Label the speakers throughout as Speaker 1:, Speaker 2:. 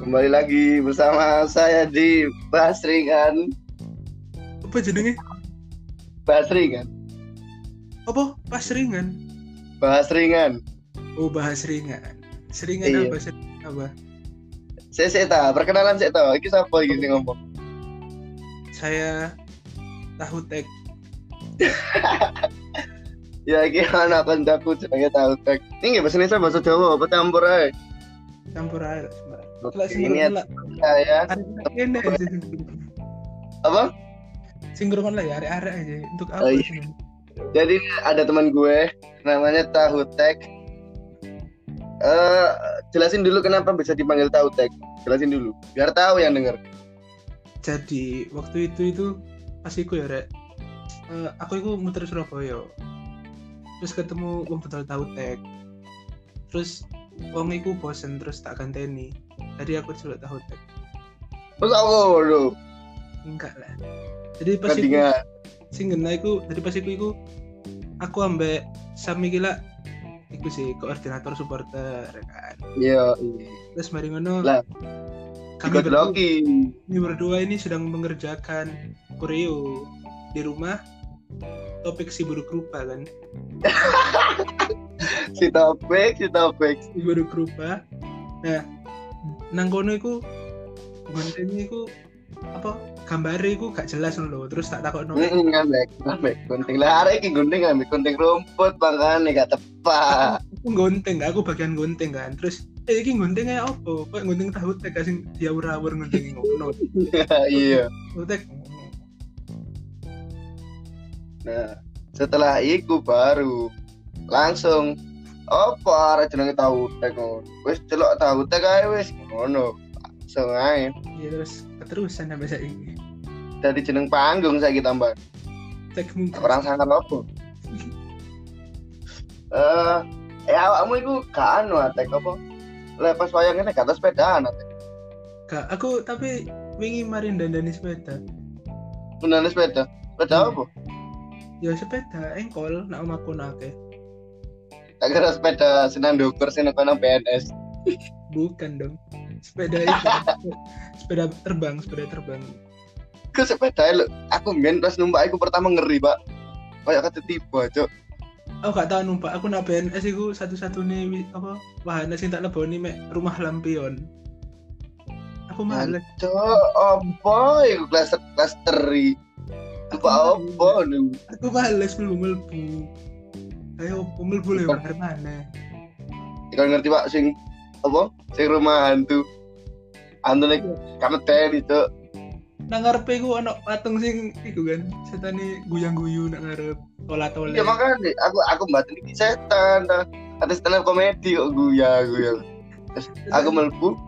Speaker 1: Kembali lagi bersama saya di Bahas Ringan.
Speaker 2: Apa judulnya?
Speaker 1: Bahas Ringan.
Speaker 2: Apa? Pas ringan.
Speaker 1: Bahas Ringan.
Speaker 2: Oh, bahas ringan. Seringan
Speaker 1: Iya.
Speaker 2: apa? Seringan apa?
Speaker 1: Saya Seta, perkenalan Seta. Iki siapa iki sing ngomong?
Speaker 2: Saya tahu tek.
Speaker 1: Ya iki anak kancaku jenenge tahu tek. Ini nggih bahasa Indonesia bahasa Jawa apa campur ae.
Speaker 2: Campur air. sembarang. Lah,
Speaker 1: Oke,
Speaker 2: singkronkan
Speaker 1: Ini
Speaker 2: lah.
Speaker 1: saya
Speaker 2: Arek-arek kene aja.
Speaker 1: apa?
Speaker 2: Singkronkan lah ya, arek-arek aja. Untuk apa?
Speaker 1: Oh, iya.
Speaker 2: sih?
Speaker 1: Jadi ada teman gue namanya Tahu Tek. Eh jelasin dulu kenapa bisa dipanggil Tahu Tek. Jelasin dulu biar tahu yang denger.
Speaker 2: Jadi, waktu itu itu pas iku ya, Rek. Eh, aku itu muter Surabaya. Terus ketemu wong betul tahu tek. Terus wong iku bosen terus tak ganteni. Tadi aku coba tahu tek.
Speaker 1: Terus oh, aku lho,
Speaker 2: Enggak lah. Jadi pas iku
Speaker 1: ketinggalan.
Speaker 2: sing ngena iku dari pas iku iku aku ambek Sami gila iku sih koordinator supporter kan.
Speaker 1: Iya.
Speaker 2: Terus mari ngono
Speaker 1: Lah,
Speaker 2: kami
Speaker 1: Ikut
Speaker 2: berdua,
Speaker 1: Loki.
Speaker 2: kami berdua ini sedang mengerjakan koreo di rumah topik si buruk rupa kan
Speaker 1: Si Topik, si Topik.
Speaker 2: si buruk rupa nah nang kono iku kontennya iku apa gambare iku gak jelas ngono lho terus tak takokno
Speaker 1: Heeh, ngambek, ngambek. Gunting lah arek iki gunting ngambek gunting rumput makane gak tepat.
Speaker 2: aku gunting aku bagian gunting kan terus eh ini gunting kayak apa kok gunting tahu tek kasing diawur-awur gunting ngono
Speaker 1: Iya.
Speaker 2: tahu tek
Speaker 1: Nah, setelah iku baru langsung apa arek jenenge tahu tek ngono. Wis celok tahu tek ae wis ngono. Langsung ae.
Speaker 2: ya terus keterusan sampai saya ini
Speaker 1: Dari jeneng panggung saiki tambah.
Speaker 2: tek mungkin
Speaker 1: Orang sangat apa? Eh, eh awakmu iku gak anu tek apa? Lepas wayang ini kata sepedaan atek.
Speaker 2: Gak, aku tapi wingi marin dandani sepeda
Speaker 1: Beneran sepeda. Sepeda apa?
Speaker 2: ya sepeda engkol nak omaku nake
Speaker 1: Tak kira sepeda senandukur sing nang PNS.
Speaker 2: bukan dong sepeda itu sepeda terbang sepeda terbang
Speaker 1: Ku sepeda lho. Aku main pas numpak aku pertama ngeri, Pak. Kayak kata tiba, Cok.
Speaker 2: aku gak tahu numpak aku nak BNS iku satu-satunya wi- apa wahana sing tak leboni mek rumah lampion aku males
Speaker 1: Cok, opo iku klaster klasteri.
Speaker 2: Aku
Speaker 1: Apa opo
Speaker 2: males.
Speaker 1: niku?
Speaker 2: Aku males mlebu mlebu. Ayo aku mlebu le
Speaker 1: Bukan.
Speaker 2: bareng mana?
Speaker 1: Ikan ngerti, Pak, sing apa? Sing rumah hantu. Hantu nek kamu tadi, Cok.
Speaker 2: Nang ngarepe ku ana patung sing iku kan setane guyang-guyu nang ngarep tola-tole.
Speaker 1: Ya makanya aku aku mbaten iki setan ta. Ada stand up komedi kok guya guya. Terus aku mlebu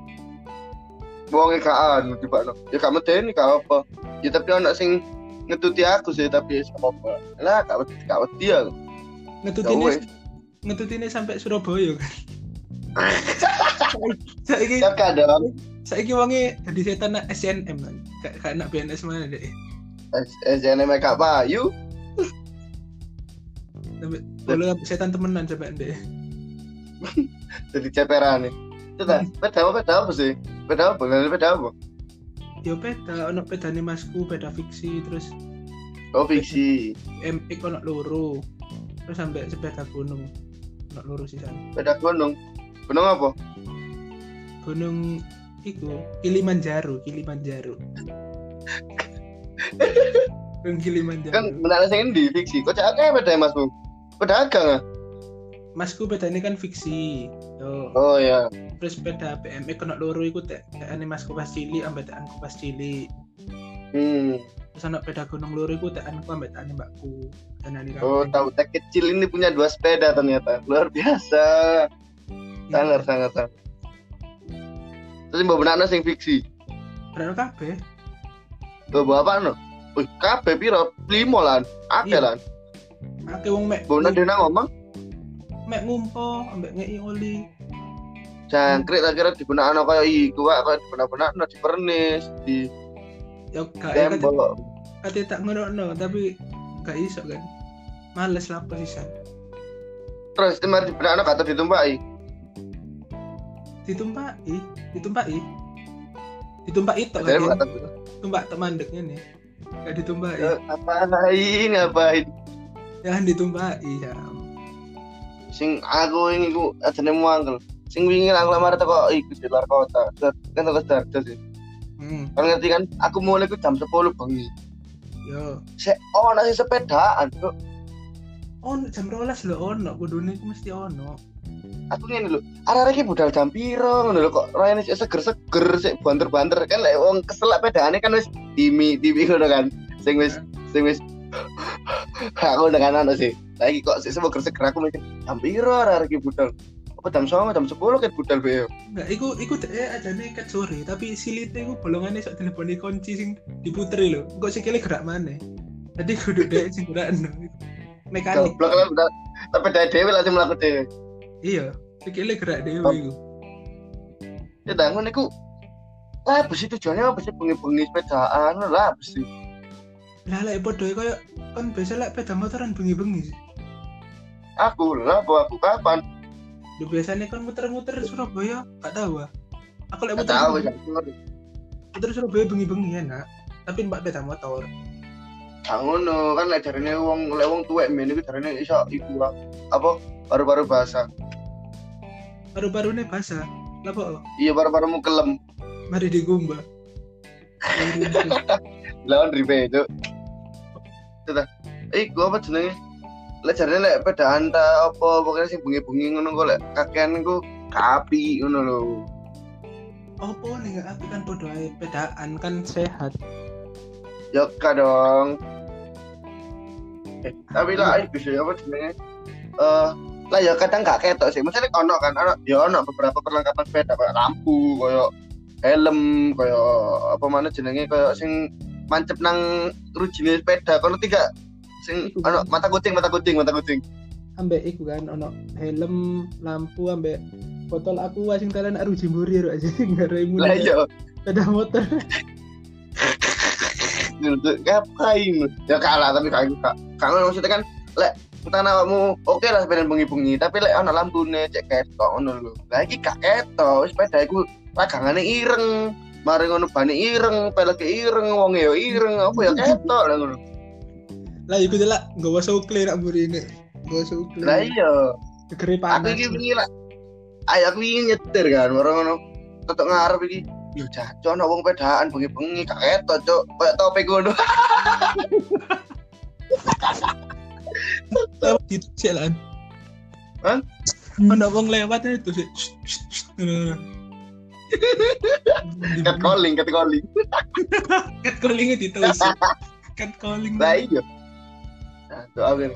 Speaker 1: wong ekaan coba no. Ya kamu teni gak apa. Ya tapi ana sing ngetuti aku sih tapi ya sama apa. Lah gak wedi gak wedi ya. aku.
Speaker 2: ngetutine
Speaker 1: Jauh,
Speaker 2: ngetutine sampai Surabaya kan. saiki
Speaker 1: Ya kadang
Speaker 2: saiki wonge dadi setan nak SNM kan. Gak gak nak BNS mana deh.
Speaker 1: SNM e gak payu.
Speaker 2: Kalau setan temenan coba deh.
Speaker 1: Jadi ceperan nih. Itu ta. Beda apa beda apa sih? Beda apa? Beda beda apa?
Speaker 2: Yo Ya, peda ono pedane masku, peda fiksi terus
Speaker 1: Oh fiksi.
Speaker 2: MX ono loro. Terus sampai sepeda gunung. Ono loro sisan.
Speaker 1: Beda gunung. Gunung apa?
Speaker 2: gunung iku Kilimanjaro Kilimanjaro gunung Kilimanjaro
Speaker 1: Kan benar sing endi fiksi. Kok cak akeh beda Mas Bu? Pedagang ah.
Speaker 2: masku beda ini kan fiksi yo
Speaker 1: Oh ya.
Speaker 2: terus beda PME kena loro iku tek tekane masku pas cilik ambek tekanku pas cilik
Speaker 1: Hmm.
Speaker 2: terus anak beda gunung loro iku tekanku ambek tekane mbakku dan ani
Speaker 1: Oh, tahu tak kecil ini punya dua sepeda ternyata. Luar biasa.
Speaker 2: Iya.
Speaker 1: Sangar, sangar, sangar. Terus mbak benakno sing fiksi.
Speaker 2: berano kabeh
Speaker 1: Mbak bawa apa no? Wih, kabeh piro? Limo lan. Akeh
Speaker 2: Iya.
Speaker 1: lan.
Speaker 2: akeh wong mek
Speaker 1: Mbak benak dia nang ngomong.
Speaker 2: mek ngumpo ambek ngei oli
Speaker 1: Jangkrik tak kira dibenakno kaya iku wak. Kaya dibenak-benakno di pernis. Di
Speaker 2: yo gak ya kate-
Speaker 1: tembok.
Speaker 2: kate tak ngono tapi gak iso kan males lapo sisan
Speaker 1: Terus itu mari dibenakno kata ditumpai.
Speaker 2: ditumpai ditumpai ditumpak itu
Speaker 1: Padahal
Speaker 2: kan
Speaker 1: nggak tahu.
Speaker 2: tumpak temandeknya nih gak ditumbak
Speaker 1: Eh, Ngapain ngapain
Speaker 2: jangan ditumbak iya
Speaker 1: sing aku ini ku adane muangkel sing wingi aku lamar teko iku di luar kota kan teko Sidoarjo sih
Speaker 2: hmm
Speaker 1: kan ngerti kan aku mulai ku jam 10 bengi
Speaker 2: yo
Speaker 1: sik ono sing sepedaan Cuk.
Speaker 2: on jam rolas lo ono kudune iku mesti ono
Speaker 1: aku ngene lho arek-arek iki budal jam piro ngono lho kok rayane sik seger-seger sik banter-banter kan lek wong keselak pedane kan wis timi timi ngono kan sing wis sing wis aku dengan anu sih lagi kok sik seger-seger aku mikir jam piro arek-arek iki budal apa jam 9 jam 10 kan budal be
Speaker 2: Enggak, iku iku dhek ajane ket sore, tapi silite iku bolongane sok teleponi kunci sing diputeri lho. Engko sikile gerak maneh. Jadi kudu dhek sing gerakno. Mekanik.
Speaker 1: goblok kan lah budal tapi dari dewe langsung melaku dewe
Speaker 2: Iya, sikile gerak dhewe iku.
Speaker 1: ya dangun niku lah apa sih tujuannya apa sih bengi-bengi sepedaan lah apa sih
Speaker 2: Lah lek podo koyo kan biasa lek peda motoran bengi-bengi. sih.
Speaker 1: aku lah bawa aku kapan
Speaker 2: Lho biasanya kan muter-muter Surabaya, gak tahu ah. Aku lek
Speaker 1: gak
Speaker 2: muter
Speaker 1: Iya. tahu jam 10.
Speaker 2: muter Surabaya bengi-bengi enak, tapi mbak peda motor.
Speaker 1: Gak ngono kan lek jarene wong lek wong tuwek men iku jarene iso iku lah. apa paru-paru basah.
Speaker 2: Baru-barune basah. Lah kok
Speaker 1: Iya paru-parumu kelem.
Speaker 2: mari digumba.
Speaker 1: Lawan ribe itu. Teta. Iku apa jenenge? Lek jarene lek pedaan ta apa pokoknya sing bengi-bengi ngono kok lek kakean iku kapi ngono lho.
Speaker 2: Opo nih gak aku kan podo ae pedaan kan sehat.
Speaker 1: Ya ka dong. Eh, tapi
Speaker 2: Iya.
Speaker 1: lah iku sih apa jenenge? Eh lah ya kadang gak ketok sih. Maksudnya ono kan ono ya ono beberapa perlengkapan sepeda kayak lampu, kayak helm, kayak apa mana jenenge kayak sing mancep nang rujine sepeda. Kono tiga sing
Speaker 2: Iku.
Speaker 1: ono mata kucing, mata kucing, mata kucing.
Speaker 2: ambek iku kan ono helm lampu ambek botol aku sing telan aru jimburi ro aja nggak imun
Speaker 1: Lah iya,
Speaker 2: sepeda motor
Speaker 1: Duduk, ngapain ya kalah tapi kayak kak kalau maksudnya kan lek utang awakmu oke lah sepeda bengi-bengi tapi lek ana lampune cek ketok ngono lho lah iki gak ketok sepeda iku lagangane ireng mari ngono bane ireng peleke ireng wong ya ireng apa ya ketok lah ngono
Speaker 2: lah iku delak nggak usah ukle nak mburi ini nggak usah ukle
Speaker 1: lah iya
Speaker 2: Gegere
Speaker 1: aku
Speaker 2: panas
Speaker 1: iki wingi lah ayo aku wingi nyetir kan mari ngono ketok ngarep iki yo jajan ana wong pedaan bengi-bengi gak ketok cuk koyo topik ngono
Speaker 2: lewat gitu, kan. itu sih lan
Speaker 1: Hah?
Speaker 2: ono wong Hmm. lewat itu sih
Speaker 1: cat calling cat calling
Speaker 2: cat calling itu terus cat calling
Speaker 1: Lah iya. Nah, tuh aku.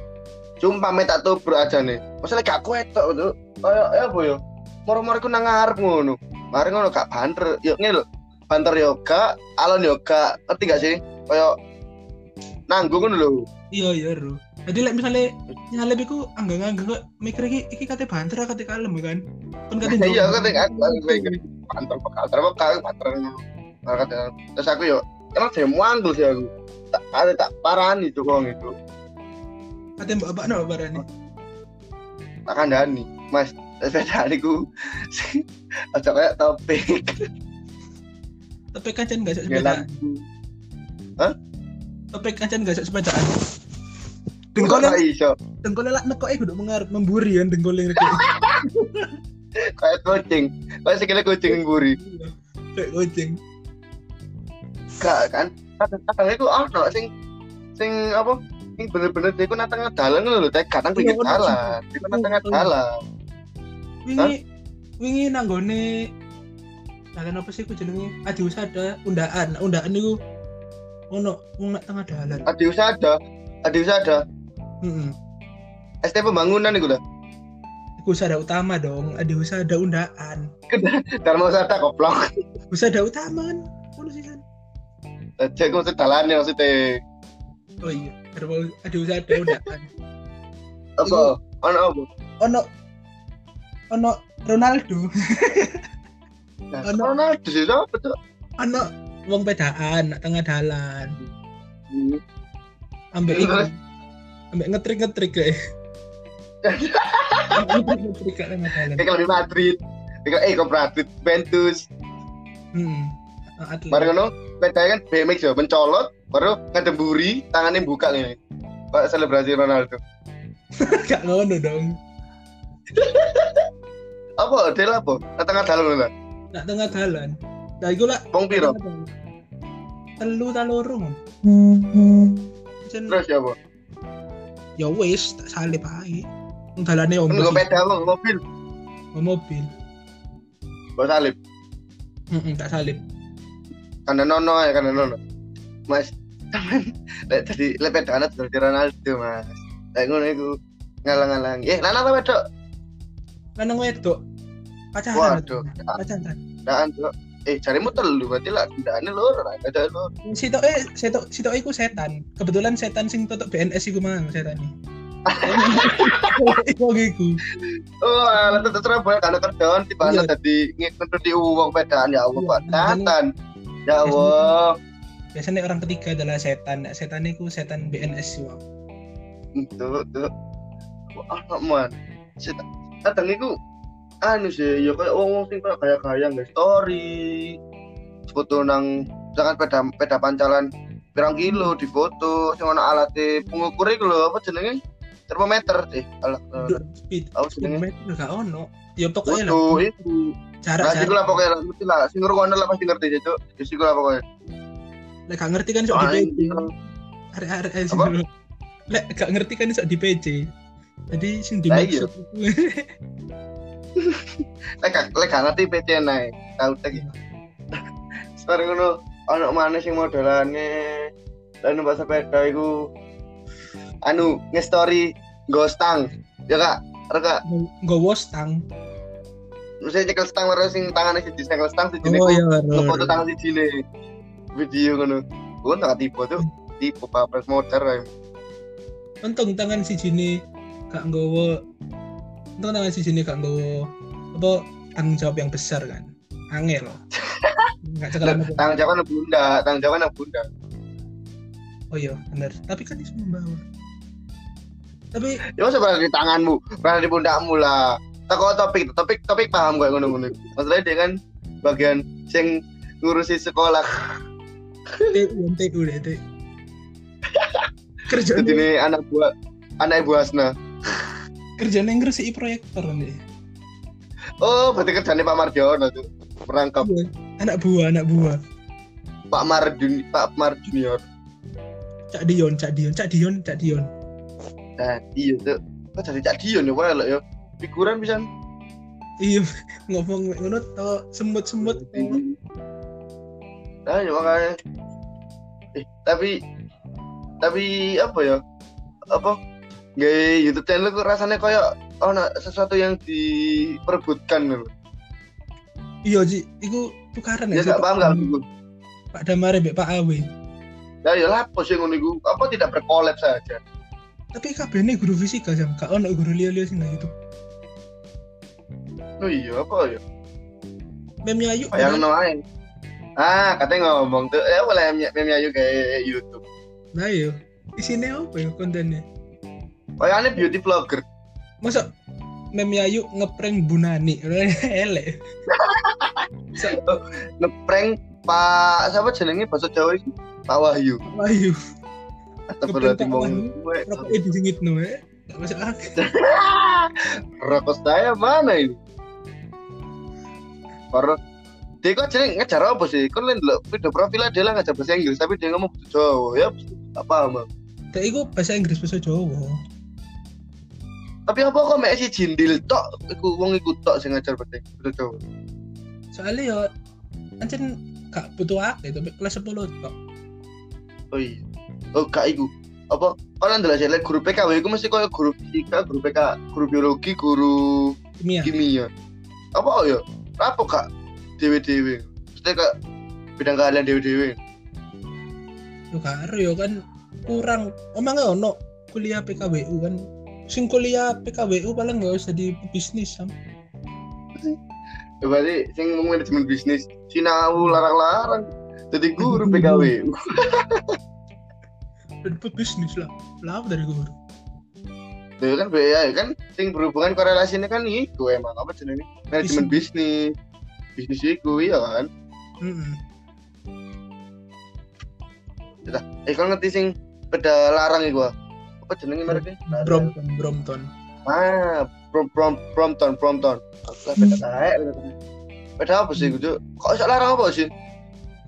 Speaker 1: Sumpah me tak tubruk aja nih. Masalah gak kuat tok, Cuk. Kayak ya apa ya? Moro-moro ku nang ngarep ngono. Mari ngono gak banter. Yo ngene lho. Banter yo gak, alon yo gak. Ngerti gak sih? Kayak nanggung ngono lho.
Speaker 2: iya iya ro jadi like, misalnya nyalep iku anggang-anggang kok mikir iki iki kate banter kate kalem kan kan kate
Speaker 1: Iya,
Speaker 2: jawab.
Speaker 1: kate- aku- aku mikir. Banter bakal terus bakal banter. Mari kata. Terus aku yo emang dia muangkel sih aku. Tak ada tak parani tuh kok gitu.
Speaker 2: kate mbak mbak no barani
Speaker 1: Tak kandani. Mas, sepeda niku. Aja kayak topik.
Speaker 2: Topik kancen gak sok sepeda.
Speaker 1: Jalan.
Speaker 2: Topik kancen gak sok sepeda.
Speaker 1: Kok
Speaker 2: Dengkolnya
Speaker 1: iso.
Speaker 2: dengkolnya lak nekok kudu mengarep memburi kan dengkolnya nekok.
Speaker 1: kayak kucing kayak sekali kucing nguri
Speaker 2: Kayak kucing.
Speaker 1: gak kan kadang itu ono sing sing apa sing bener-bener dia itu natang dalan lho teh kadang pinggir
Speaker 2: Iya, ono
Speaker 1: dalan dia itu natang dalan
Speaker 2: Wingi wingi nanggone dalan apa sih ku jenenge? Adi Usada undaan. Undaan niku ono wong nak tengah dalan.
Speaker 1: ada usaha ada ada usaha ada
Speaker 2: Heeh.
Speaker 1: ST pembangunan itu lah
Speaker 2: Iku Usada utama dong. Adi Usada undaan.
Speaker 1: Dharma Usada koplok
Speaker 2: Usada utama kan. Ono sih kan.
Speaker 1: jadi maksud dalannya maksudnya
Speaker 2: Oh iya. Dharma- Adi Usada undaan.
Speaker 1: apa
Speaker 2: Iya.
Speaker 1: ono apa
Speaker 2: Ono ono Ronaldo.
Speaker 1: Nah,
Speaker 2: Ono.
Speaker 1: Ronaldo sih apa tuh
Speaker 2: ana wong pedaan nak tengah dalan
Speaker 1: Hmm.
Speaker 2: ambek iku
Speaker 1: Terus?
Speaker 2: ambek ngetrik-ngetrik kae ngetrik-ngetrik kae tengah dalan
Speaker 1: kayak lebih Madrid kayak eh kok Madrid Ventus
Speaker 2: hmm Ah, aduh.
Speaker 1: Mari ngono, sepedanya kan BMX ya, mencolot, baru ngedeburi, tangannya buka nih. Pak selebrasi Ronaldo.
Speaker 2: Gak ngono dong.
Speaker 1: Apa? Dia lah, apa? Nang Tengah dalan lah.
Speaker 2: Nak tengah dalan. Nah, iku lah
Speaker 1: Wong piro?
Speaker 2: telu ta loro. Jen
Speaker 1: Terus ya, apa?
Speaker 2: ya wis tak salip ae. Wong dalane
Speaker 1: Kan gue
Speaker 2: ombo
Speaker 1: pedal, lo mobil.
Speaker 2: mobil.
Speaker 1: Gue salib.
Speaker 2: Heeh, tak salip.
Speaker 1: Karena nono ya, karena nono. Mas, temen. Lek tadi, lek pedalnya selebrasi Ronaldo, mas. Lek ngono iku ngalang-ngalang. Eh, nana apa, Dok?
Speaker 2: Lanang wedok. Pacaran.
Speaker 1: Waduh,
Speaker 2: Dok. Pacaran.
Speaker 1: Daan, Dok. Eh, carimu telu, berarti lah. Daannya loro, lah. Ada loro.
Speaker 2: Sitok eh sitok sitok iku setan. Kebetulan setan sing tutup BNS iku mang setan iki. Iku iku.
Speaker 1: Oh, alat tetap Surabaya karena kerjaan di
Speaker 2: Iya.
Speaker 1: mana tadi ngikuti uang pedaan ya Allah
Speaker 2: Iya,
Speaker 1: Pak
Speaker 2: makanya-
Speaker 1: Tatan. Ya Allah,
Speaker 2: Biasanya orang ketiga adalah setan. Nah, Setan iku setan BNS iku.
Speaker 1: Hmm. itu itu apa man? Sita- Kadang itu anu sih, ya kayak uang uang sing kayak kayak kayak nggak story, foto nang jangan peda peda pancalan pirang kilo di foto, cuma alat pengukur itu loh apa jenenge termometer sih, alat eh,
Speaker 2: Duh, Speed.
Speaker 1: apa jenenge?
Speaker 2: Speed gak ono. Ya pokoknya lah
Speaker 1: Foto itu, nah sih
Speaker 2: jarak-jarak.
Speaker 1: lah pokoknya lah, mesti lah, sing ngerungokno lah pasti ngerti sih, Cuk. Ya sih lah pokoknya.
Speaker 2: Lek gak ngerti kan sok di
Speaker 1: Main,
Speaker 2: PC. Arek-arek sing
Speaker 1: Apa?
Speaker 2: dulu. Lek gak ngerti kan sok di PC. Jadi sing
Speaker 1: Lah iya.
Speaker 2: dimaksud iku-
Speaker 1: lek lek gak ngerti PC nae tau tek iki. Sebar ngono ana maneh sing modalane lan numpak sepeda iku anu nge-story nggo stang ya kak Terus kak
Speaker 2: nggowo stang.
Speaker 1: mesti nyekel stang terus sing tangane siji nyekel stang siji niku
Speaker 2: iya.
Speaker 1: ngefoto tangan siji ne video ngono gua nggak tipu tuh tipu papres modar ae.
Speaker 2: Untung tangan si Jini gak nggowo. Untung tangan si Jini gak nggowo apa tanggung jawab yang besar kan. Angel. Enggak cekalan apa.
Speaker 1: tanggung jawab nang bunda tanggung jawab nang bunda
Speaker 2: Oh iya, bener. Tapi kan iso membawa. Tapi
Speaker 1: ya masa berada di tanganmu berada di pundakmu lah teko topik topik topik paham kok ngono ngono maksudnya dia kan bagian sing ngurusi sekolah
Speaker 2: TU, TU deh, TU. Kerjaan
Speaker 1: jadi ini anak buah anak ibu Hasna
Speaker 2: kerjaan yang ngresiki proyektor nih.
Speaker 1: oh berarti kerjanya Pak Mardiono tuh merangkap
Speaker 2: Iya. Anak buah, anak buah.
Speaker 1: Pak Mar Jun- Pak Mar Junior
Speaker 2: Cak Dion, Cak Dion, Cak Dion, Cak Dion.
Speaker 1: nah iya tuh kok jadi cak Dion ya wae lho ya figuran bisa
Speaker 2: Iya, ngomong ngono to semut-semut.
Speaker 1: Iya, nah ya makanya eh tapi tapi apa ya apa gay YouTube channel kok rasanya kayak oh sesuatu yang diperebutkan loh
Speaker 2: Nah, Iya, Ji, iku tukaran
Speaker 1: ya nggak paham nggak
Speaker 2: Pak- Pak Damare mbek Pak Awe.
Speaker 1: ya ya lah apa sih ngono iku? apa tidak berkolab saja
Speaker 2: Tapi kabehne guru fisika jam, gak ono guru liya-liya sing nang YouTube.
Speaker 1: oh iya apa ya
Speaker 2: Meme ayu.
Speaker 1: bayang no ae. ah katanya ngomong tuh ya boleh meme meme ayu kayak YouTube
Speaker 2: Nah, iya. Isine apa ya kontennya?
Speaker 1: kayaknya beauty vlogger
Speaker 2: Masa meme ayu ngeprank Bunani. Elek.
Speaker 1: ngeprank Pak siapa jenenge bahasa Jawa itu Pak Wahyu
Speaker 2: Ayu.
Speaker 1: atau
Speaker 2: Ngeprank
Speaker 1: berarti
Speaker 2: Pak Wahyu. Rokoknya disingitno ya. Gak masuk akal.
Speaker 1: rokok saya mana ini? Baru dia kok jadi ngejar apa sih? Kan lain lo video profil dia lah ngejar bahasa Inggris tapi dia ngomong bahasa Jawa ya apa emang?
Speaker 2: Tapi iku bahasa Inggris bahasa Jawa.
Speaker 1: Tapi apa kok mek si jindil tok iku wong iku tok sing ngejar bahasa Inggris bahasa Jawa.
Speaker 2: Soalnya ya ancen gak butuh akeh tapi kelas 10 tok.
Speaker 1: Oh iya. Oh gak iku. Apa orang ndelok jelek guru PKW iku mesti koyo guru fisika, guru PK, guru biologi, guru
Speaker 2: Kimia.
Speaker 1: kimia. Apa oh ya? Apa kak dewe-dewe? Mesti kak bidang kalian dewe-dewe.
Speaker 2: Yo karo yo kan kurang. Omongnya ono kuliah PKWU kan. Sing kuliah PKWU paling gak usah di bisnis sam.
Speaker 1: Ya, berarti sing ngomong manajemen bisnis sinau larang-larang jadi guru PKW
Speaker 2: Dan pebisnis lah. Lah apa dari guru.
Speaker 1: ya kan BA kan sing berhubungan korelasinya kan itu emang apa jenenge manajemen bisnis bisnis itu iya kan
Speaker 2: Mm
Speaker 1: Dah, eh kau ngerti sing beda larang iku. ah? Apa jenenge mereknya?
Speaker 2: Brompton Brompton
Speaker 1: Ah, prom prom Brompton, Brompton. Aku lah beda taek. Beda apa sih gitu? Kok iso larang apa sih?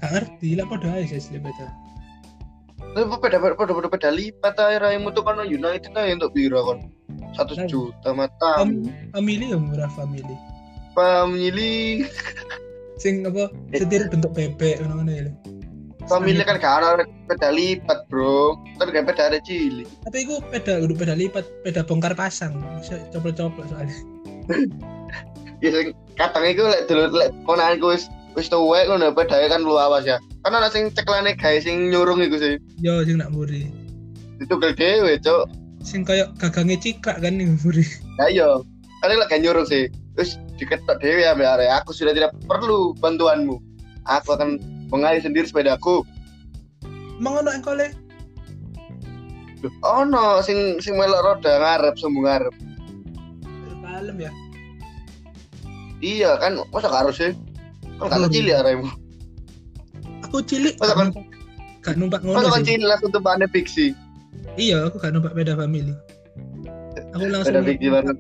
Speaker 2: gak ngerti lah pada aja sih beda
Speaker 1: Tapi beda beda beda beda, beda lipat ae raimu tuh kan United ae untuk piro kon? 1 juta mata.
Speaker 2: Fam- family ya murah family
Speaker 1: Pemilih
Speaker 2: sing apa setir bentuk bebek ngono ngono ya
Speaker 1: family kan gak ada beda lipat, Bro. Kan gak beda ada cilik.
Speaker 2: tapi iku peda udah peda lipat peda bongkar pasang coplok-coplok soalnya
Speaker 1: ya sing kadang iku lek dulu lek ponakan ku wis wis tuwek ngono pedae kan lu awas ya. Kan ana sing ceklane gawe sing nyurung iku sih.
Speaker 2: yo sing nak muri
Speaker 1: Ditugel dhewe, Cuk.
Speaker 2: sing kayak gagangnya cikrak kan yang muri
Speaker 1: Ya iya. Kan lek gak nyurung sih. Terus diketok dhewe ya mbak Arek. Aku sudah tidak perlu bantuanmu. Aku akan mengalir sendiri sepedaku.
Speaker 2: emang ono yang kole
Speaker 1: Loh, Ono sing sing melok roda ngarep sumbu ngarep.
Speaker 2: kalem ya
Speaker 1: Iya kan masa gak harus sih. Kan gak
Speaker 2: Hmm.
Speaker 1: kecil ya Arek.
Speaker 2: aku cilik
Speaker 1: Masa kan-
Speaker 2: gak numpak ngono
Speaker 1: Masa
Speaker 2: sih.
Speaker 1: kecil langsung tempatnya fiksi.
Speaker 2: iya aku gak numpak peda family aku langsung
Speaker 1: Beda fiksi banget.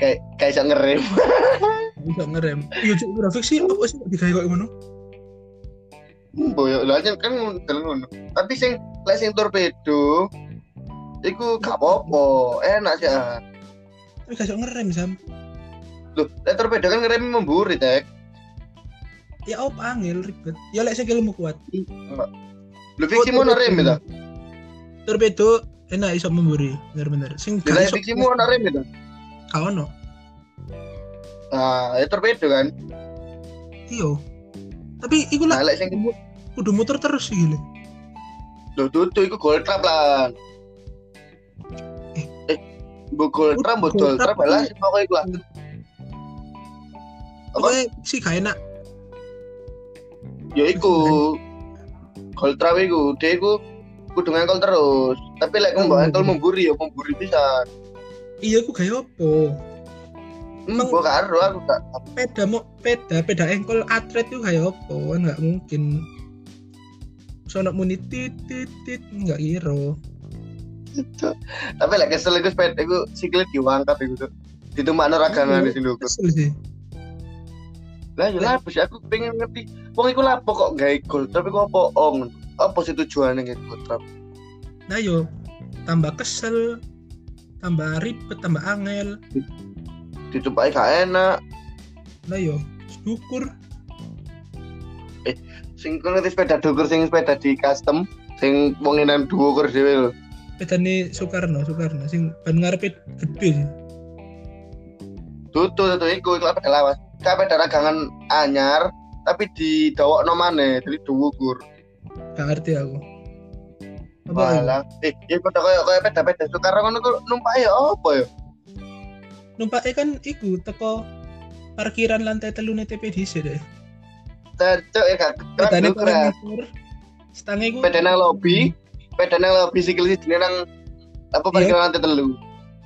Speaker 1: Kayak kayak iso ngerem.
Speaker 2: bisa ngerem iya cuk grafik sih apa sih digawe kayak ngono
Speaker 1: Boyo lah kan ngundel ngono. Tapi sing lek sing torpedo iku gak apa-apa, enak sih. ah.
Speaker 2: tapi gak iso ngerem sam
Speaker 1: Loh, lek torpedo kan ngerem memburi tek.
Speaker 2: ya op angel ribet ya lek sing ilmu kuat
Speaker 1: Lu fiksi mau ngerem itu.
Speaker 2: torpedo enak iso memburi bener-bener sing
Speaker 1: Lek fiksi mau ngerem itu.
Speaker 2: Gak ono
Speaker 1: Nah, ya torpedo kan.
Speaker 2: iyo tapi iku
Speaker 1: Nah,
Speaker 2: lah
Speaker 1: lek sing
Speaker 2: kudu muter terus sih gile
Speaker 1: lho dudu iku gold trap lah. Eh, bu gold trap, bu gold trap iya. lah sing pokoknya iku lah.
Speaker 2: pokoknya sih gak enak
Speaker 1: Ya iku. Gold trap iku, dia iku kudu ngangkol terus. Tapi lek
Speaker 2: Oh.
Speaker 1: mbok entol memburi ya memburi bisa.
Speaker 2: iya aku gawe apa
Speaker 1: Emang gua karo aku gak
Speaker 2: peda mau peda peda engkol atlet itu gawe apa kan nggak mungkin sono muni tit tit tit nggak kira
Speaker 1: Cuk. tapi lek kesel iku sepeda iku sikile diwangkat iku tuh ditumpakno raganane sing lho
Speaker 2: kesel sih
Speaker 1: lah ya lah bos, aku pengen ngerti wong iku lapo kok gawe gol tapi kok apa om apa sih tujuane gawe gol trap
Speaker 2: nah yo tambah kesel tambah ribet tambah angel
Speaker 1: ditumpaki gak enak
Speaker 2: nah yo syukur
Speaker 1: sing ku ngerti sepeda dukur sing sepeda di custom sing wong enan dukur dhewe lho
Speaker 2: peda nih Soekarno Soekarno sing ban ngarepe gede sih
Speaker 1: tutu tutu iku iku apa lawas kabeh ada ragangan anyar tapi di dawok nomane dari dukur
Speaker 2: gak ngerti aku apa ya?
Speaker 1: malah eh ya padha koyo koyo peda-peda Soekarno ngono ku numpak ya apa ya
Speaker 2: numpake kan iku teko parkiran lantai telu nih TPDC deh
Speaker 1: Cocok ya gak kerak
Speaker 2: pedane
Speaker 1: dukur ya.
Speaker 2: kurang ngisor stange iku
Speaker 1: peda nang lobby peda nang lobby sikil sidine nang apa parkiran lantai telu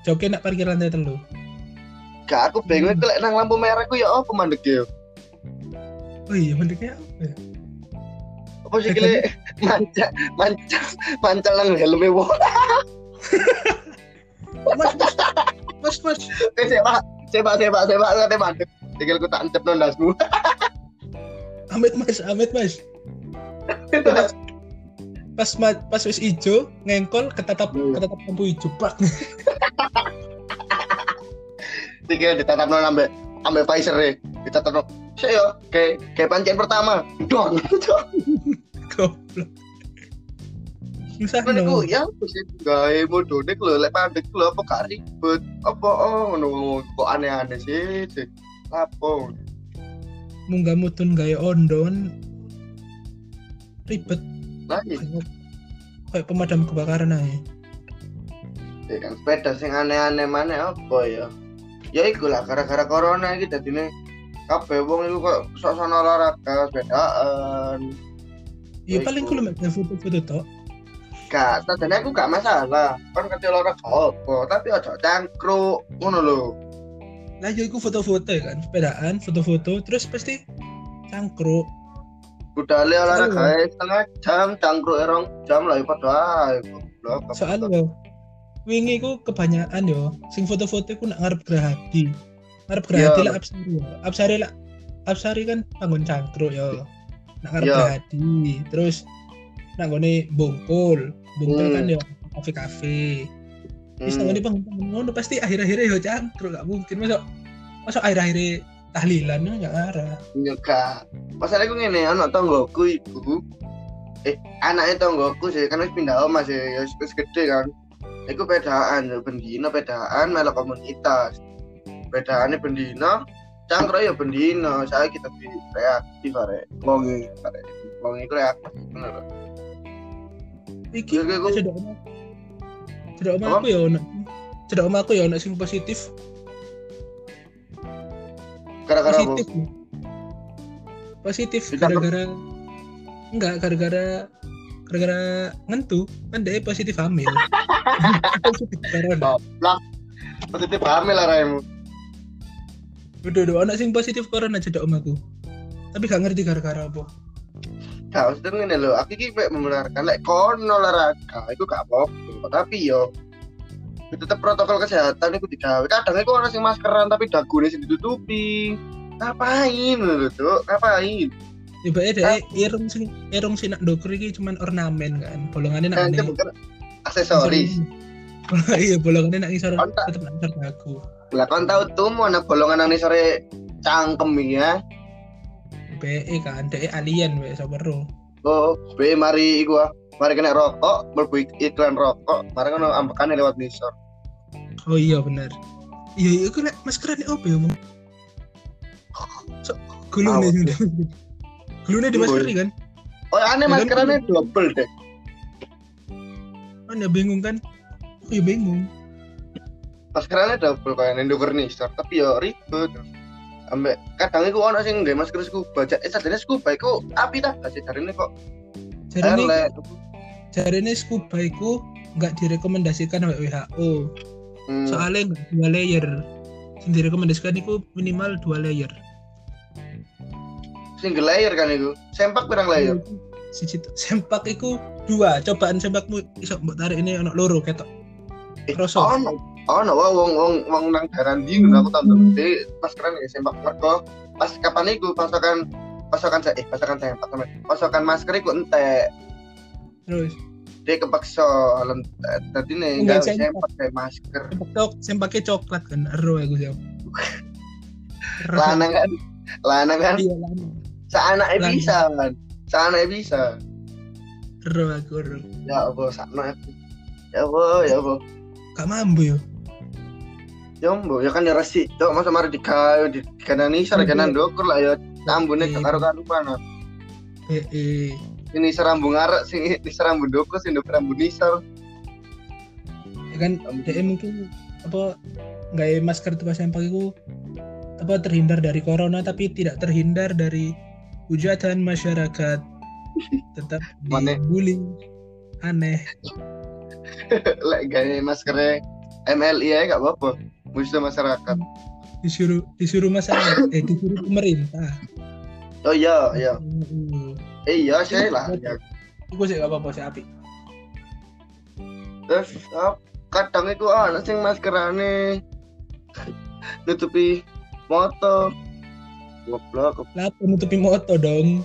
Speaker 2: joki nak parkir lantai telu
Speaker 1: gak aku bingung itu lek nang lampu merah ku ya apa mandek ya
Speaker 2: oh iya mendeknya apa ya?
Speaker 1: apa sikile manca manca manca nang helme wo
Speaker 2: mas mas mas mas
Speaker 1: coba coba coba coba ngerti mandek sikilku tak encep nang dasmu
Speaker 2: amit mas amit mas pas ma- pas wis ijo ngengkol ketatap
Speaker 1: Iya.
Speaker 2: ketatap lampu ijo pak
Speaker 1: sikil ditatap nang ambek ambek Pfizer ya ditatap nang saya yo kayak kayak pancen pertama dong
Speaker 2: goblok susah
Speaker 1: Cuman iku
Speaker 2: no
Speaker 1: ya aku sih gawe modone ku lho lek pandek ku lho apa gak ribet. Apa oh ngono kok aneh-aneh sih. sih. Lapo.
Speaker 2: munggah mutun gawe ondon ribet
Speaker 1: Lah iya,
Speaker 2: kayak kayak pemadam kebakaran aja
Speaker 1: ya kan sepeda sing aneh-aneh mana apa ya. Ya iku lah gara-gara corona iki dadine kabeh wong iku kok sok-sok olahraga sepedaan.
Speaker 2: iya
Speaker 1: Baik,
Speaker 2: paling
Speaker 1: Bu.
Speaker 2: kulo mek gawe foto-foto tok
Speaker 1: Gak, tadane aku gak masalah. Kan ngerti olahraga apa, tapi ojo cangkruk ngono lho.
Speaker 2: lah yo iku foto-foto ya kan sepedaan foto-foto terus pasti cangkruk
Speaker 1: Budale olahraga
Speaker 2: Iya.
Speaker 1: ae setengah jam, cangkruk erong jam lah ya padha ae. goblok.
Speaker 2: soalnya wingi ku kebanyakan yo sing foto-foto ku nak ngarep Grahadi ngarep Grahadi
Speaker 1: Yo.
Speaker 2: lah Absari Absari lah Absari kan bangun cangkruk yo nak ngarep
Speaker 1: Yo.
Speaker 2: Grahadi terus nak nggone Bungkul Bungkul
Speaker 1: Hmm.
Speaker 2: kan yo kafe-kafe Terus
Speaker 1: Hmm.
Speaker 2: hmm. di bangun ngono pasti akhir-akhirnya yo cangkruk gak mungkin masuk masuk akhir-akhirnya tahlilan yo gak arah.
Speaker 1: iya, Nyoga. Masalahku ngene, anak tanggoku ibu. Eh, anaknya tanggoku sih kan wis pindah omah sih, ya wis wis gede kan. Iku bedaan, ya, bendino bedaan malah komunitas. Bedaannya bendino, cangkruk ya bendino. Saya kita beli reaktif are. Wong iki are. Wong iki reaktif bener.
Speaker 2: Iki
Speaker 1: Iya, kayak gua-
Speaker 2: cedok oma. Cedok oma
Speaker 1: Apa?
Speaker 2: aku ya ono. Cedok oma aku ya ono sing positif.
Speaker 1: Gara-gara apa?
Speaker 2: positif. Positif
Speaker 1: Ditangkap.
Speaker 2: gara-gara enggak gara-gara gara-gara ngentu kan dia positif hamil. positif corona.
Speaker 1: positif hamil lah raimu.
Speaker 2: Udah udah ono sing positif corona cedok oma aku. Tapi gak ngerti gara-gara apa.
Speaker 1: Nah, maksudnya ngene lho, aku iki mek membenarkan lek kono olahraga iku gak apa-apa, tapi yo tetap protokol kesehatan iku digawe. Kadang iku orang sing maskeran tapi dagune sing ditutupi. Ngapain lho, Cuk? Ngapain?
Speaker 2: Tiba-tiba dia irung sing irung sing nak doker iki cuman ornamen kan. Bolongannya nak
Speaker 1: Kan
Speaker 2: ngene.
Speaker 1: itu bukan aksesoris.
Speaker 2: iya bolongannya nak ngisor
Speaker 1: Kontak.
Speaker 2: tetep nak ngisor dagu.
Speaker 1: Lah kon tau tuh ana golongan nang sore cangkem iki ya.
Speaker 2: BE kan DE alien wes apa ro
Speaker 1: Oh, be mari iku ah. Mari kena rokok, mlebu ik- iklan rokok, mari ngono ambekane lewat nisor.
Speaker 2: oh iya bener iya iya aku lek maskeran apa ya bang so, gulune
Speaker 1: Awet,
Speaker 2: gulune gulune di masker
Speaker 1: Gulune.
Speaker 2: kan
Speaker 1: Oh, aneh
Speaker 2: Ya kan?
Speaker 1: maskerannya double deh.
Speaker 2: kan ya bingung kan aku ya bingung
Speaker 1: maskerannya double kayak nendo nisor tapi ya ribet ambek kadang iku ono sing nggawe masker scuba cek eh sadene scuba iku api ta gak jarine kok
Speaker 2: jadi ini
Speaker 1: elek
Speaker 2: jadi ini scuba iku nggak direkomendasikan oleh WHO
Speaker 1: hmm.
Speaker 2: soalnya nggak dua layer yang direkomendasikan itu minimal dua layer
Speaker 1: single layer kan iku sempak pirang layer
Speaker 2: Siji to- sempak iku dua cobaan sempakmu iso mbok tarik ini ono loro ketok
Speaker 1: eh,
Speaker 2: Kroso.
Speaker 1: ono ono wah wong wong wong nang daerah dingin aku tau
Speaker 2: Hmm.
Speaker 1: tuh di maskeran ya sempak mergo pas kapan iku pasokan pasokan se- eh pasokan sempak temen pasokan masker iku entek
Speaker 2: terus
Speaker 1: dia kepaksa lentek tadi nih enggak
Speaker 2: Enggak Iya, sempak.
Speaker 1: sempak kayak masker
Speaker 2: Cok, sing pakai coklat kan, ero aku jam.
Speaker 1: lanang kan lanang kan
Speaker 2: Iya, lanang.
Speaker 1: seanaknya
Speaker 2: Lanang.
Speaker 1: bisa kan seanaknya bisa
Speaker 2: Ero aku, ero.
Speaker 1: ya apa sama aku ya apa ya apa
Speaker 2: Gak mampu yo.
Speaker 1: ya apa ya kan ya resik cok masa mari digawe di kanan isar
Speaker 2: Iya.
Speaker 1: kanan dokur lah ya ambune gak
Speaker 2: Iya.
Speaker 1: karo karuan
Speaker 2: Eh, eh.
Speaker 1: ini serambung arek sing ini serambung dokur sing dokur ambun isar
Speaker 2: Ya kan DE mungkin apa nggak masker tuh pas yang pakai ku apa terhindar dari corona tapi tidak terhindar dari hujatan masyarakat tetap
Speaker 1: Mana?
Speaker 2: dibully aneh
Speaker 1: lek gawe maskere MLI ya gak apa-apa musuh masyarakat
Speaker 2: disuruh disuruh masyarakat eh disuruh pemerintah
Speaker 1: oh iya iya
Speaker 2: Mm,
Speaker 1: eh iya sih lah ya.
Speaker 2: iku sih gak apa-apa sih api
Speaker 1: terus ap- kadang itu ana sing maskerane nutupi motor goblok
Speaker 2: lah menutupi moto dong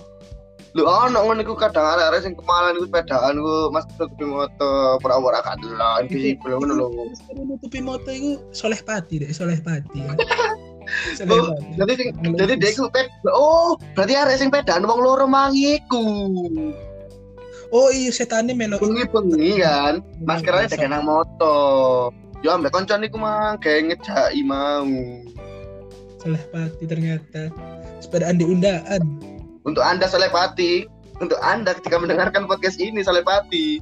Speaker 1: lu ono ngono iku kadang arek-arek sing kemalan iku sepedaan ku mas tutupi moto ora-ora kadelon invisible ngono lho
Speaker 2: Sekarang nutupi moto itu soleh pati deh, soleh pati ya. soleh
Speaker 1: Oh,
Speaker 2: pati.
Speaker 1: jadi sing jadi dia iku ped oh berarti arek sing pedaan wong loro mangi iku
Speaker 2: Oh iya setannya melo.
Speaker 1: bengi-bengi kan maskerane tekan nang moto yo ambek kanca niku mang geng ngejaki mau
Speaker 2: Soleh pati ternyata. Sepedaan diundaan.
Speaker 1: untuk anda Salepati untuk anda ketika mendengarkan podcast ini Salepati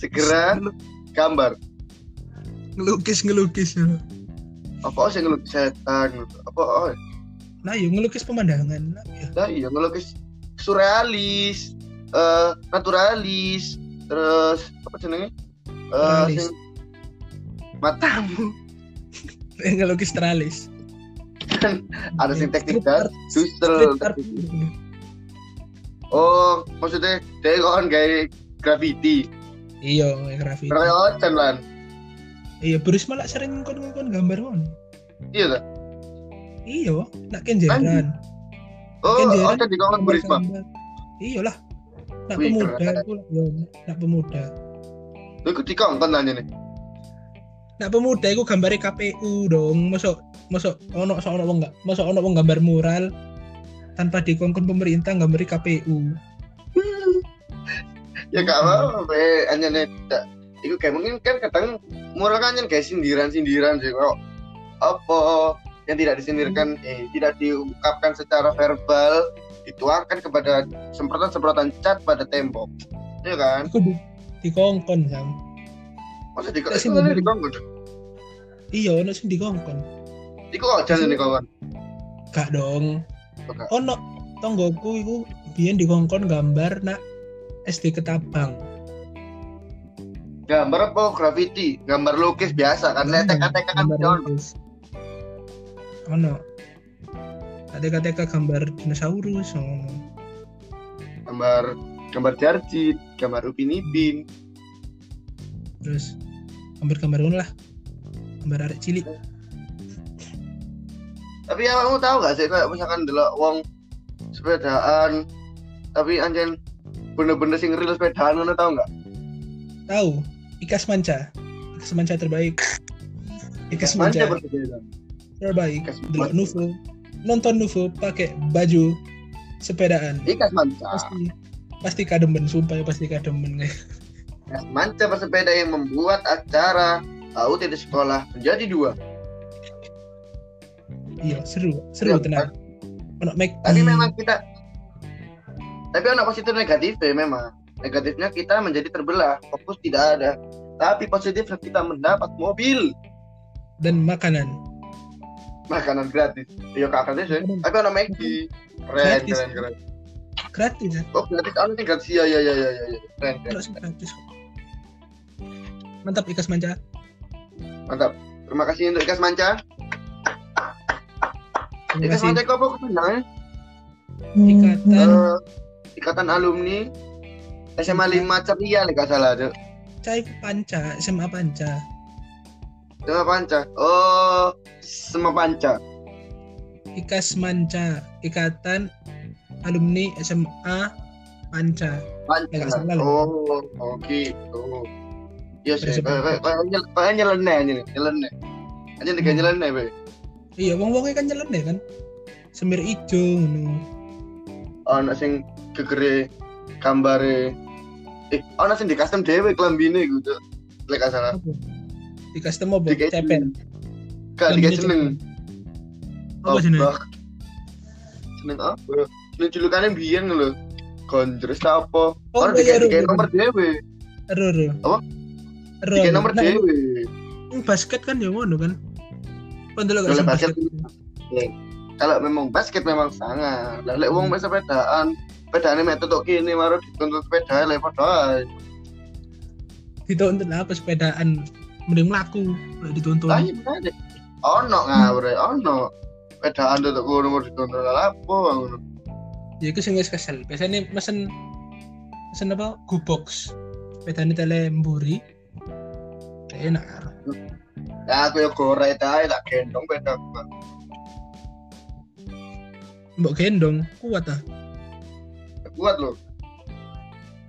Speaker 1: segera gambar
Speaker 2: Ngelukis ngelukis ya.
Speaker 1: apa sih ngelukis setan apa oh
Speaker 2: Nah yuk ngelukis pemandangan. Nah, ya.
Speaker 1: Lah iya ngelukis surrealis, eh naturalis, terus apa jenenge? Eh
Speaker 2: Naturalis.
Speaker 1: sing matamu
Speaker 2: Ngelukis teralis.
Speaker 1: kan ada sing teknik dan susel
Speaker 2: Iya, Street art gitu.
Speaker 1: oh maksudnya dia kan kayak graffiti
Speaker 2: iya kayak graffiti
Speaker 1: ternyata ocean lan
Speaker 2: iya Burisma lah sering kon kon gambar kon
Speaker 1: iya tak
Speaker 2: iya nak kenjeran
Speaker 1: oh
Speaker 2: Kan dia kan
Speaker 1: ocean di kawan Burisma
Speaker 2: iya lah nak
Speaker 1: Wih,
Speaker 2: pemuda
Speaker 1: keren.
Speaker 2: aku yo nak pemuda
Speaker 1: lu ikut di kawan nanya nih
Speaker 2: nak pemuda iku gambare KPU dong masuk masuk ono sok ono wong enggak masuk ono wong gambar mural tanpa dikongkon pemerintah gambari KPU
Speaker 1: ya gak apa-apa eh, hanya nih tak itu kayak mungkin kan kadang murah kan yang kayak sindiran-sindiran sih kok apa yang tidak disindirkan eh, tidak diungkapkan secara verbal dituangkan kepada semprotan-semprotan cat pada tembok iya kan
Speaker 2: aku di, dikongkon sam
Speaker 1: masa di
Speaker 2: Tak
Speaker 1: itu
Speaker 2: sindir.
Speaker 1: kan di kawan
Speaker 2: iya ono sing dikongkon
Speaker 1: itu kok jalan nih kawan
Speaker 2: gak dong
Speaker 1: Kok gak?
Speaker 2: ono tonggoku iku biyen dikongkon gambar nak SD Ketabang
Speaker 1: gambar apa graffiti gambar lukis biasa kan
Speaker 2: Gambar,
Speaker 1: letek-letek kan
Speaker 2: gambar
Speaker 1: Jon.
Speaker 2: lukis. ono ada KTK gambar dinosaurus ono
Speaker 1: gambar gambar jarjit gambar upin ipin
Speaker 2: terus gambar-gambar ono lah gambar arek cilik
Speaker 1: tapi ya kamu tahu gak sih kayak misalkan dulu wong sepedaan tapi anjen bener-bener sing real sepedaan ngono tahu nggak
Speaker 2: tahu Ikas Manca Ikas Manca terbaik Ikas
Speaker 1: Manja
Speaker 2: Manca
Speaker 1: bersepeda
Speaker 2: terbaik
Speaker 1: Ikas Manca.
Speaker 2: delok Nuvo nonton Nuvo pakai baju sepedaan
Speaker 1: ikas manca
Speaker 2: pasti pasti kademen sumpah ya pasti kademen
Speaker 1: ikas manca bersepeda yang membuat acara tahu tidak sekolah menjadi dua
Speaker 2: iya seru seru
Speaker 1: Iya,
Speaker 2: tenang ono make
Speaker 1: tapi memang kita tapi anak positif negatifnya memang negatifnya kita menjadi terbelah fokus tidak ada tapi positifnya kita mendapat mobil
Speaker 2: dan makanan
Speaker 1: makanan gratis iya kak gratis ya tapi anak Maggi keren
Speaker 2: Gratis.
Speaker 1: keren keren
Speaker 2: gratis ya
Speaker 1: oh gratis anak ini gratis ya ya ya ya ya keren keren
Speaker 2: kalau sih gratis kok. mantap Ikas Manca
Speaker 1: Mantap. Terima kasih untuk Ikas Manca.
Speaker 2: terima
Speaker 1: Ikas
Speaker 2: kasih
Speaker 1: Manca kok apa kepanjangannya?
Speaker 2: ikatan
Speaker 1: Eh, Ikatan Alumni
Speaker 2: Iya.
Speaker 1: SMA 5 Ceria nih gak salah tuh.
Speaker 2: Cai Panca SMA Panca
Speaker 1: Sama Panca. Oh, sama Panca.
Speaker 2: Ikas Manca ikatan alumni SMA Panca
Speaker 1: Panca.
Speaker 2: Ya, gak salah loh.
Speaker 1: Oh, oke. gitu. Iya sih.
Speaker 2: Bersebut.
Speaker 1: Kayak nyeleneh aja nih, nyeleneh. Aja nih
Speaker 2: Hmm.
Speaker 1: kayak nyeleneh, be.
Speaker 2: iya wong wongnya kan nyeleneh kan semir ijo ngono
Speaker 1: Anak sing gegere gambare. Eh, anak sing di custom dhewe klambine iku tuh. Lek gak salah.
Speaker 2: apa di custom apa
Speaker 1: Dikai-
Speaker 2: ceper
Speaker 1: Gak
Speaker 2: Klambine
Speaker 1: dikasih seneng.
Speaker 2: ceper. apa jenenge
Speaker 1: Abah. Jeneng apa? Jeneng julukannya biyen lho. Gondres ta apa?
Speaker 2: Oh,
Speaker 1: Orang
Speaker 2: iya,
Speaker 1: dikasih dikasih
Speaker 2: iya,
Speaker 1: nomor dhewe,
Speaker 2: ero ero
Speaker 1: Apa?
Speaker 2: ero
Speaker 1: dikasih nomor
Speaker 2: Nah,
Speaker 1: dhewe.
Speaker 2: ini basket kan ya ngono kan kan dulu
Speaker 1: Dulu
Speaker 2: gak sih
Speaker 1: basket. Iya.
Speaker 2: basket
Speaker 1: Kalau memang basket memang sangat. Lah lek wong
Speaker 2: Hmm.
Speaker 1: main sepedaan, pedane mek tutuk kene maru dituntut sepeda lek padha.
Speaker 2: Hmm.
Speaker 1: ae.
Speaker 2: dituntun apa sepedaan mending mlaku nggak dituntun
Speaker 1: Lah iya bener. deh. Ono
Speaker 2: Hmm.
Speaker 1: ngawur, ono. Pedaan tutuk kono nomor dituntut lah apa ngono.
Speaker 2: ya itu sing wis kesel biasanya mesen mesen apa gubox sepedane tele mburi enak
Speaker 1: Ya aku yo gorek ta tak gendong peda.
Speaker 2: mbok gendong kuat ah
Speaker 1: Kuat lho.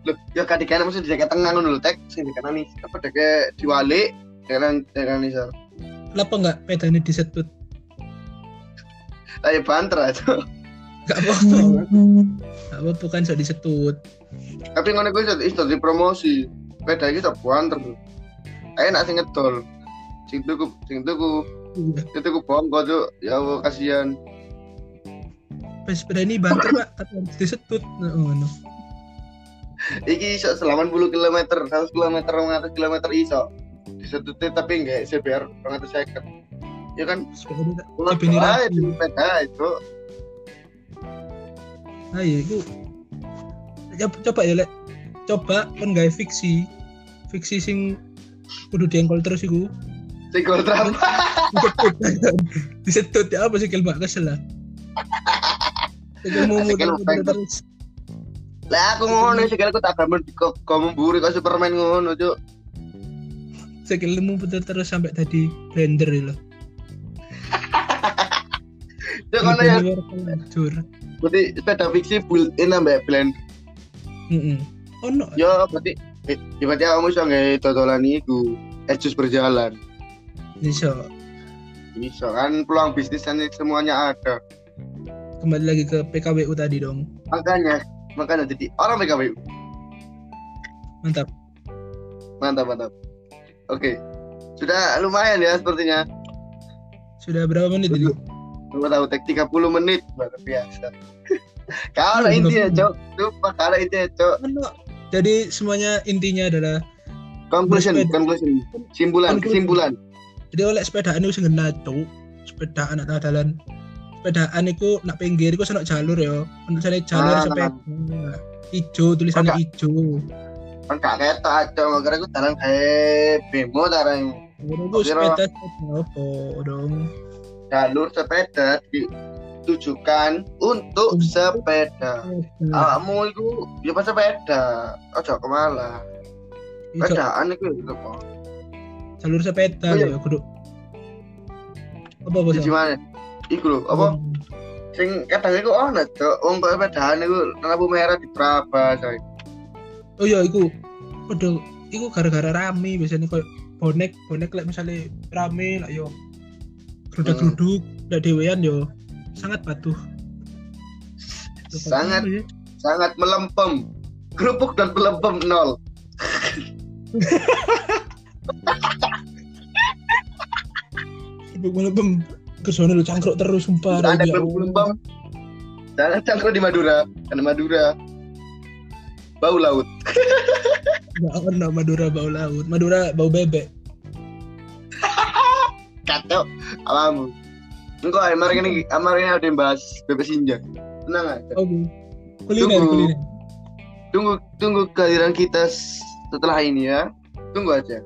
Speaker 1: Loh, ya kan dikene mesti di tengah ngono lho, tek sing dikenani apa deke diwalik, dikene dikene iso.
Speaker 2: Kenapa nggak pedane disetut
Speaker 1: Ayo ya, banter aja.
Speaker 2: nggak apa-apa nggak apa-apa kan sok disetut
Speaker 1: Tapi ngono kuwi iso iso dipromosi. Beda iki tak banter. Enak sing ngedol. Sing tuku sing tuku sing tuku bongko cuk. Ya Allah kasihan.
Speaker 2: sepeda ini banter pak tapi harus disetut Nah, ngono
Speaker 1: Iki iso selaman 10 km, 100 km, 200 km iso. Disetutnya tapi enggak CBR 250. Ya kan,
Speaker 2: sepeda
Speaker 1: ulah
Speaker 2: Dipinir
Speaker 1: ae
Speaker 2: rapi.
Speaker 1: sepeda itu.
Speaker 2: nah ya itu coba, coba ya lek coba kan nggak fiksi fiksi sing kudu diengkol terus iku
Speaker 1: Tegol terapa.
Speaker 2: disetut ya apa sih kelbak kesel lah Tegel mau
Speaker 1: Asik kelbak. Lah aku ngono segala aku tak gambar di kok kok memburi kok Superman ngono cuk.
Speaker 2: segel mau putar terus sampai tadi blender loh
Speaker 1: Cuk ngono ya.
Speaker 2: kan Jur.
Speaker 1: Berarti sepeda fiksi built in ambek blend.
Speaker 2: Heeh. Oh no.
Speaker 1: Yo berarti eh, ya berarti kamu iso nggae dodolan iku. Ejus berjalan.
Speaker 2: Bisa
Speaker 1: Bisa kan peluang bisnis kan semuanya ada.
Speaker 2: kembali lagi ke PKWU tadi dong.
Speaker 1: Makanya makanya jadi orang PKBU.
Speaker 2: Mantap.
Speaker 1: Mantap mantap. Oke. Sudah lumayan ya sepertinya.
Speaker 2: Sudah berapa menit ini?
Speaker 1: Gua tahu tek 30 menit luar biasa. Kalau
Speaker 2: Belum,
Speaker 1: intinya,
Speaker 2: belum.
Speaker 1: Cok. Lupa kalau intinya, Cok.
Speaker 2: Oh, no. Jadi semuanya intinya adalah
Speaker 1: Conclusion,
Speaker 2: Best
Speaker 1: conclusion. Simpulan,
Speaker 2: Conclusion.
Speaker 1: kesimpulan.
Speaker 2: jadi oleh sepedaan itu sing kena cuk. Sepedaan atau dalan. Sepedaan itu nak pinggir iku senok jalur ya. Untuk sana jalur
Speaker 1: Ah.
Speaker 2: sepeda. Ijo tulisannya ijo.
Speaker 1: Kan gak ketok, Cok. Makanya aku jalan kayak bemo tarang
Speaker 2: Ngono iku
Speaker 1: Kira-
Speaker 2: sepeda sepeda apa dong?
Speaker 1: jalur sepeda ditujukan untuk
Speaker 2: Untuk
Speaker 1: sepeda.
Speaker 2: Hmm.
Speaker 1: Awakmu itu ya pas sepeda. Ojo kemala.
Speaker 2: Ijo,
Speaker 1: Sepedaan itu ya apa?
Speaker 2: jalur sepeda
Speaker 1: Oh, iya.
Speaker 2: ya kudu. Apa apa?
Speaker 1: Jadi
Speaker 2: Cok?
Speaker 1: mana? Iku lho, apa?
Speaker 2: Hmm.
Speaker 1: Sing kadang iku ono, Cok. Wong kok sepedaan iku lampu merah di Prabas, coy.
Speaker 2: Oh iya, iku. Waduh, iku gara-gara rame biasanya koyo bonek, bonek lek misalnya rame lah yo. Geruduk geruduk,
Speaker 1: Hmm.
Speaker 2: lek dewean yo sangat patuh. Iya,
Speaker 1: Sangat sangat melempem kerupuk dan pelempem nol
Speaker 2: melebem. Kesana lu cangkruk terus sumpah.
Speaker 1: Ada
Speaker 2: Rabi, ya
Speaker 1: belum- belum,
Speaker 2: Allah.
Speaker 1: jangan cangkruk di Madura karena Madura bau laut
Speaker 2: Nggak ono Madura bau laut. Madura bau bebek.
Speaker 1: kacau alamu engkau emar ini emar ini ada yang bahas bebas injak tenang aja
Speaker 2: Oke. Kuliner,
Speaker 1: Tunggu.
Speaker 2: kuliner.
Speaker 1: tunggu tunggu kehadiran kita s- setelah ini ya tunggu aja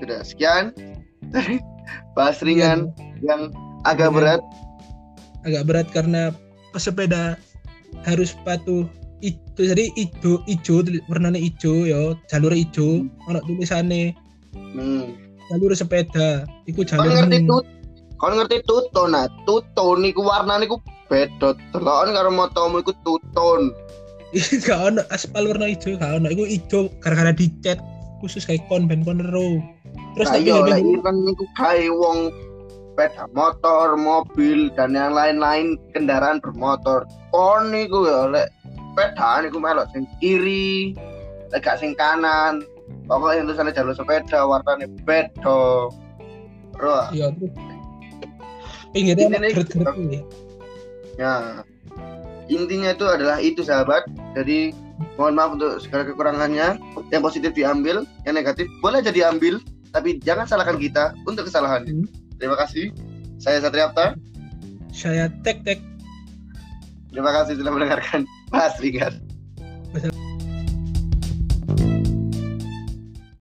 Speaker 1: sudah sekian bahas ringan yang agak
Speaker 2: Ringan.
Speaker 1: berat
Speaker 2: Agak berat karena pesepeda harus patuh itu jadi ijo ijo tulis- warnanya ijo yo jalur ijo ono tulisannya
Speaker 1: hmm.
Speaker 2: jalur sepeda iku
Speaker 1: Kon
Speaker 2: jalur
Speaker 1: ngerti
Speaker 2: ning-
Speaker 1: tut. Kon ngerti tuton nah. Tuton niku warnane ku bedot. Telokan karo motomu iku tuton.
Speaker 2: gak ono aspal warna ijo gak ono iku ijo gara-gara dicet khusus kayak kon ben kon ero terus
Speaker 1: Nah
Speaker 2: tapi ya,
Speaker 1: iya lek
Speaker 2: ben-
Speaker 1: ireng niku gawe wong sepeda motor, mobil dan yang lain-lain kendaraan bermotor. Kon niku ya lek sepeda niku melok sing kiri, lek gak sing kanan. Pokoknya tulisannya jalur sepeda warnane bedo. Roh.
Speaker 2: iya terus pinggirnya
Speaker 1: Ini
Speaker 2: ono
Speaker 1: nih.
Speaker 2: geret-geret ini.
Speaker 1: Ya, intinya itu adalah itu sahabat. Jadi mohon maaf untuk segala kekurangannya. Yang positif diambil, yang negatif boleh aja diambil, tapi jangan salahkan kita untuk kesalahannya.
Speaker 2: Hmm.
Speaker 1: Terima kasih. Saya Satria Apta.
Speaker 2: saya tek tek
Speaker 1: Terima kasih sudah mendengarkan. Mas Ringan.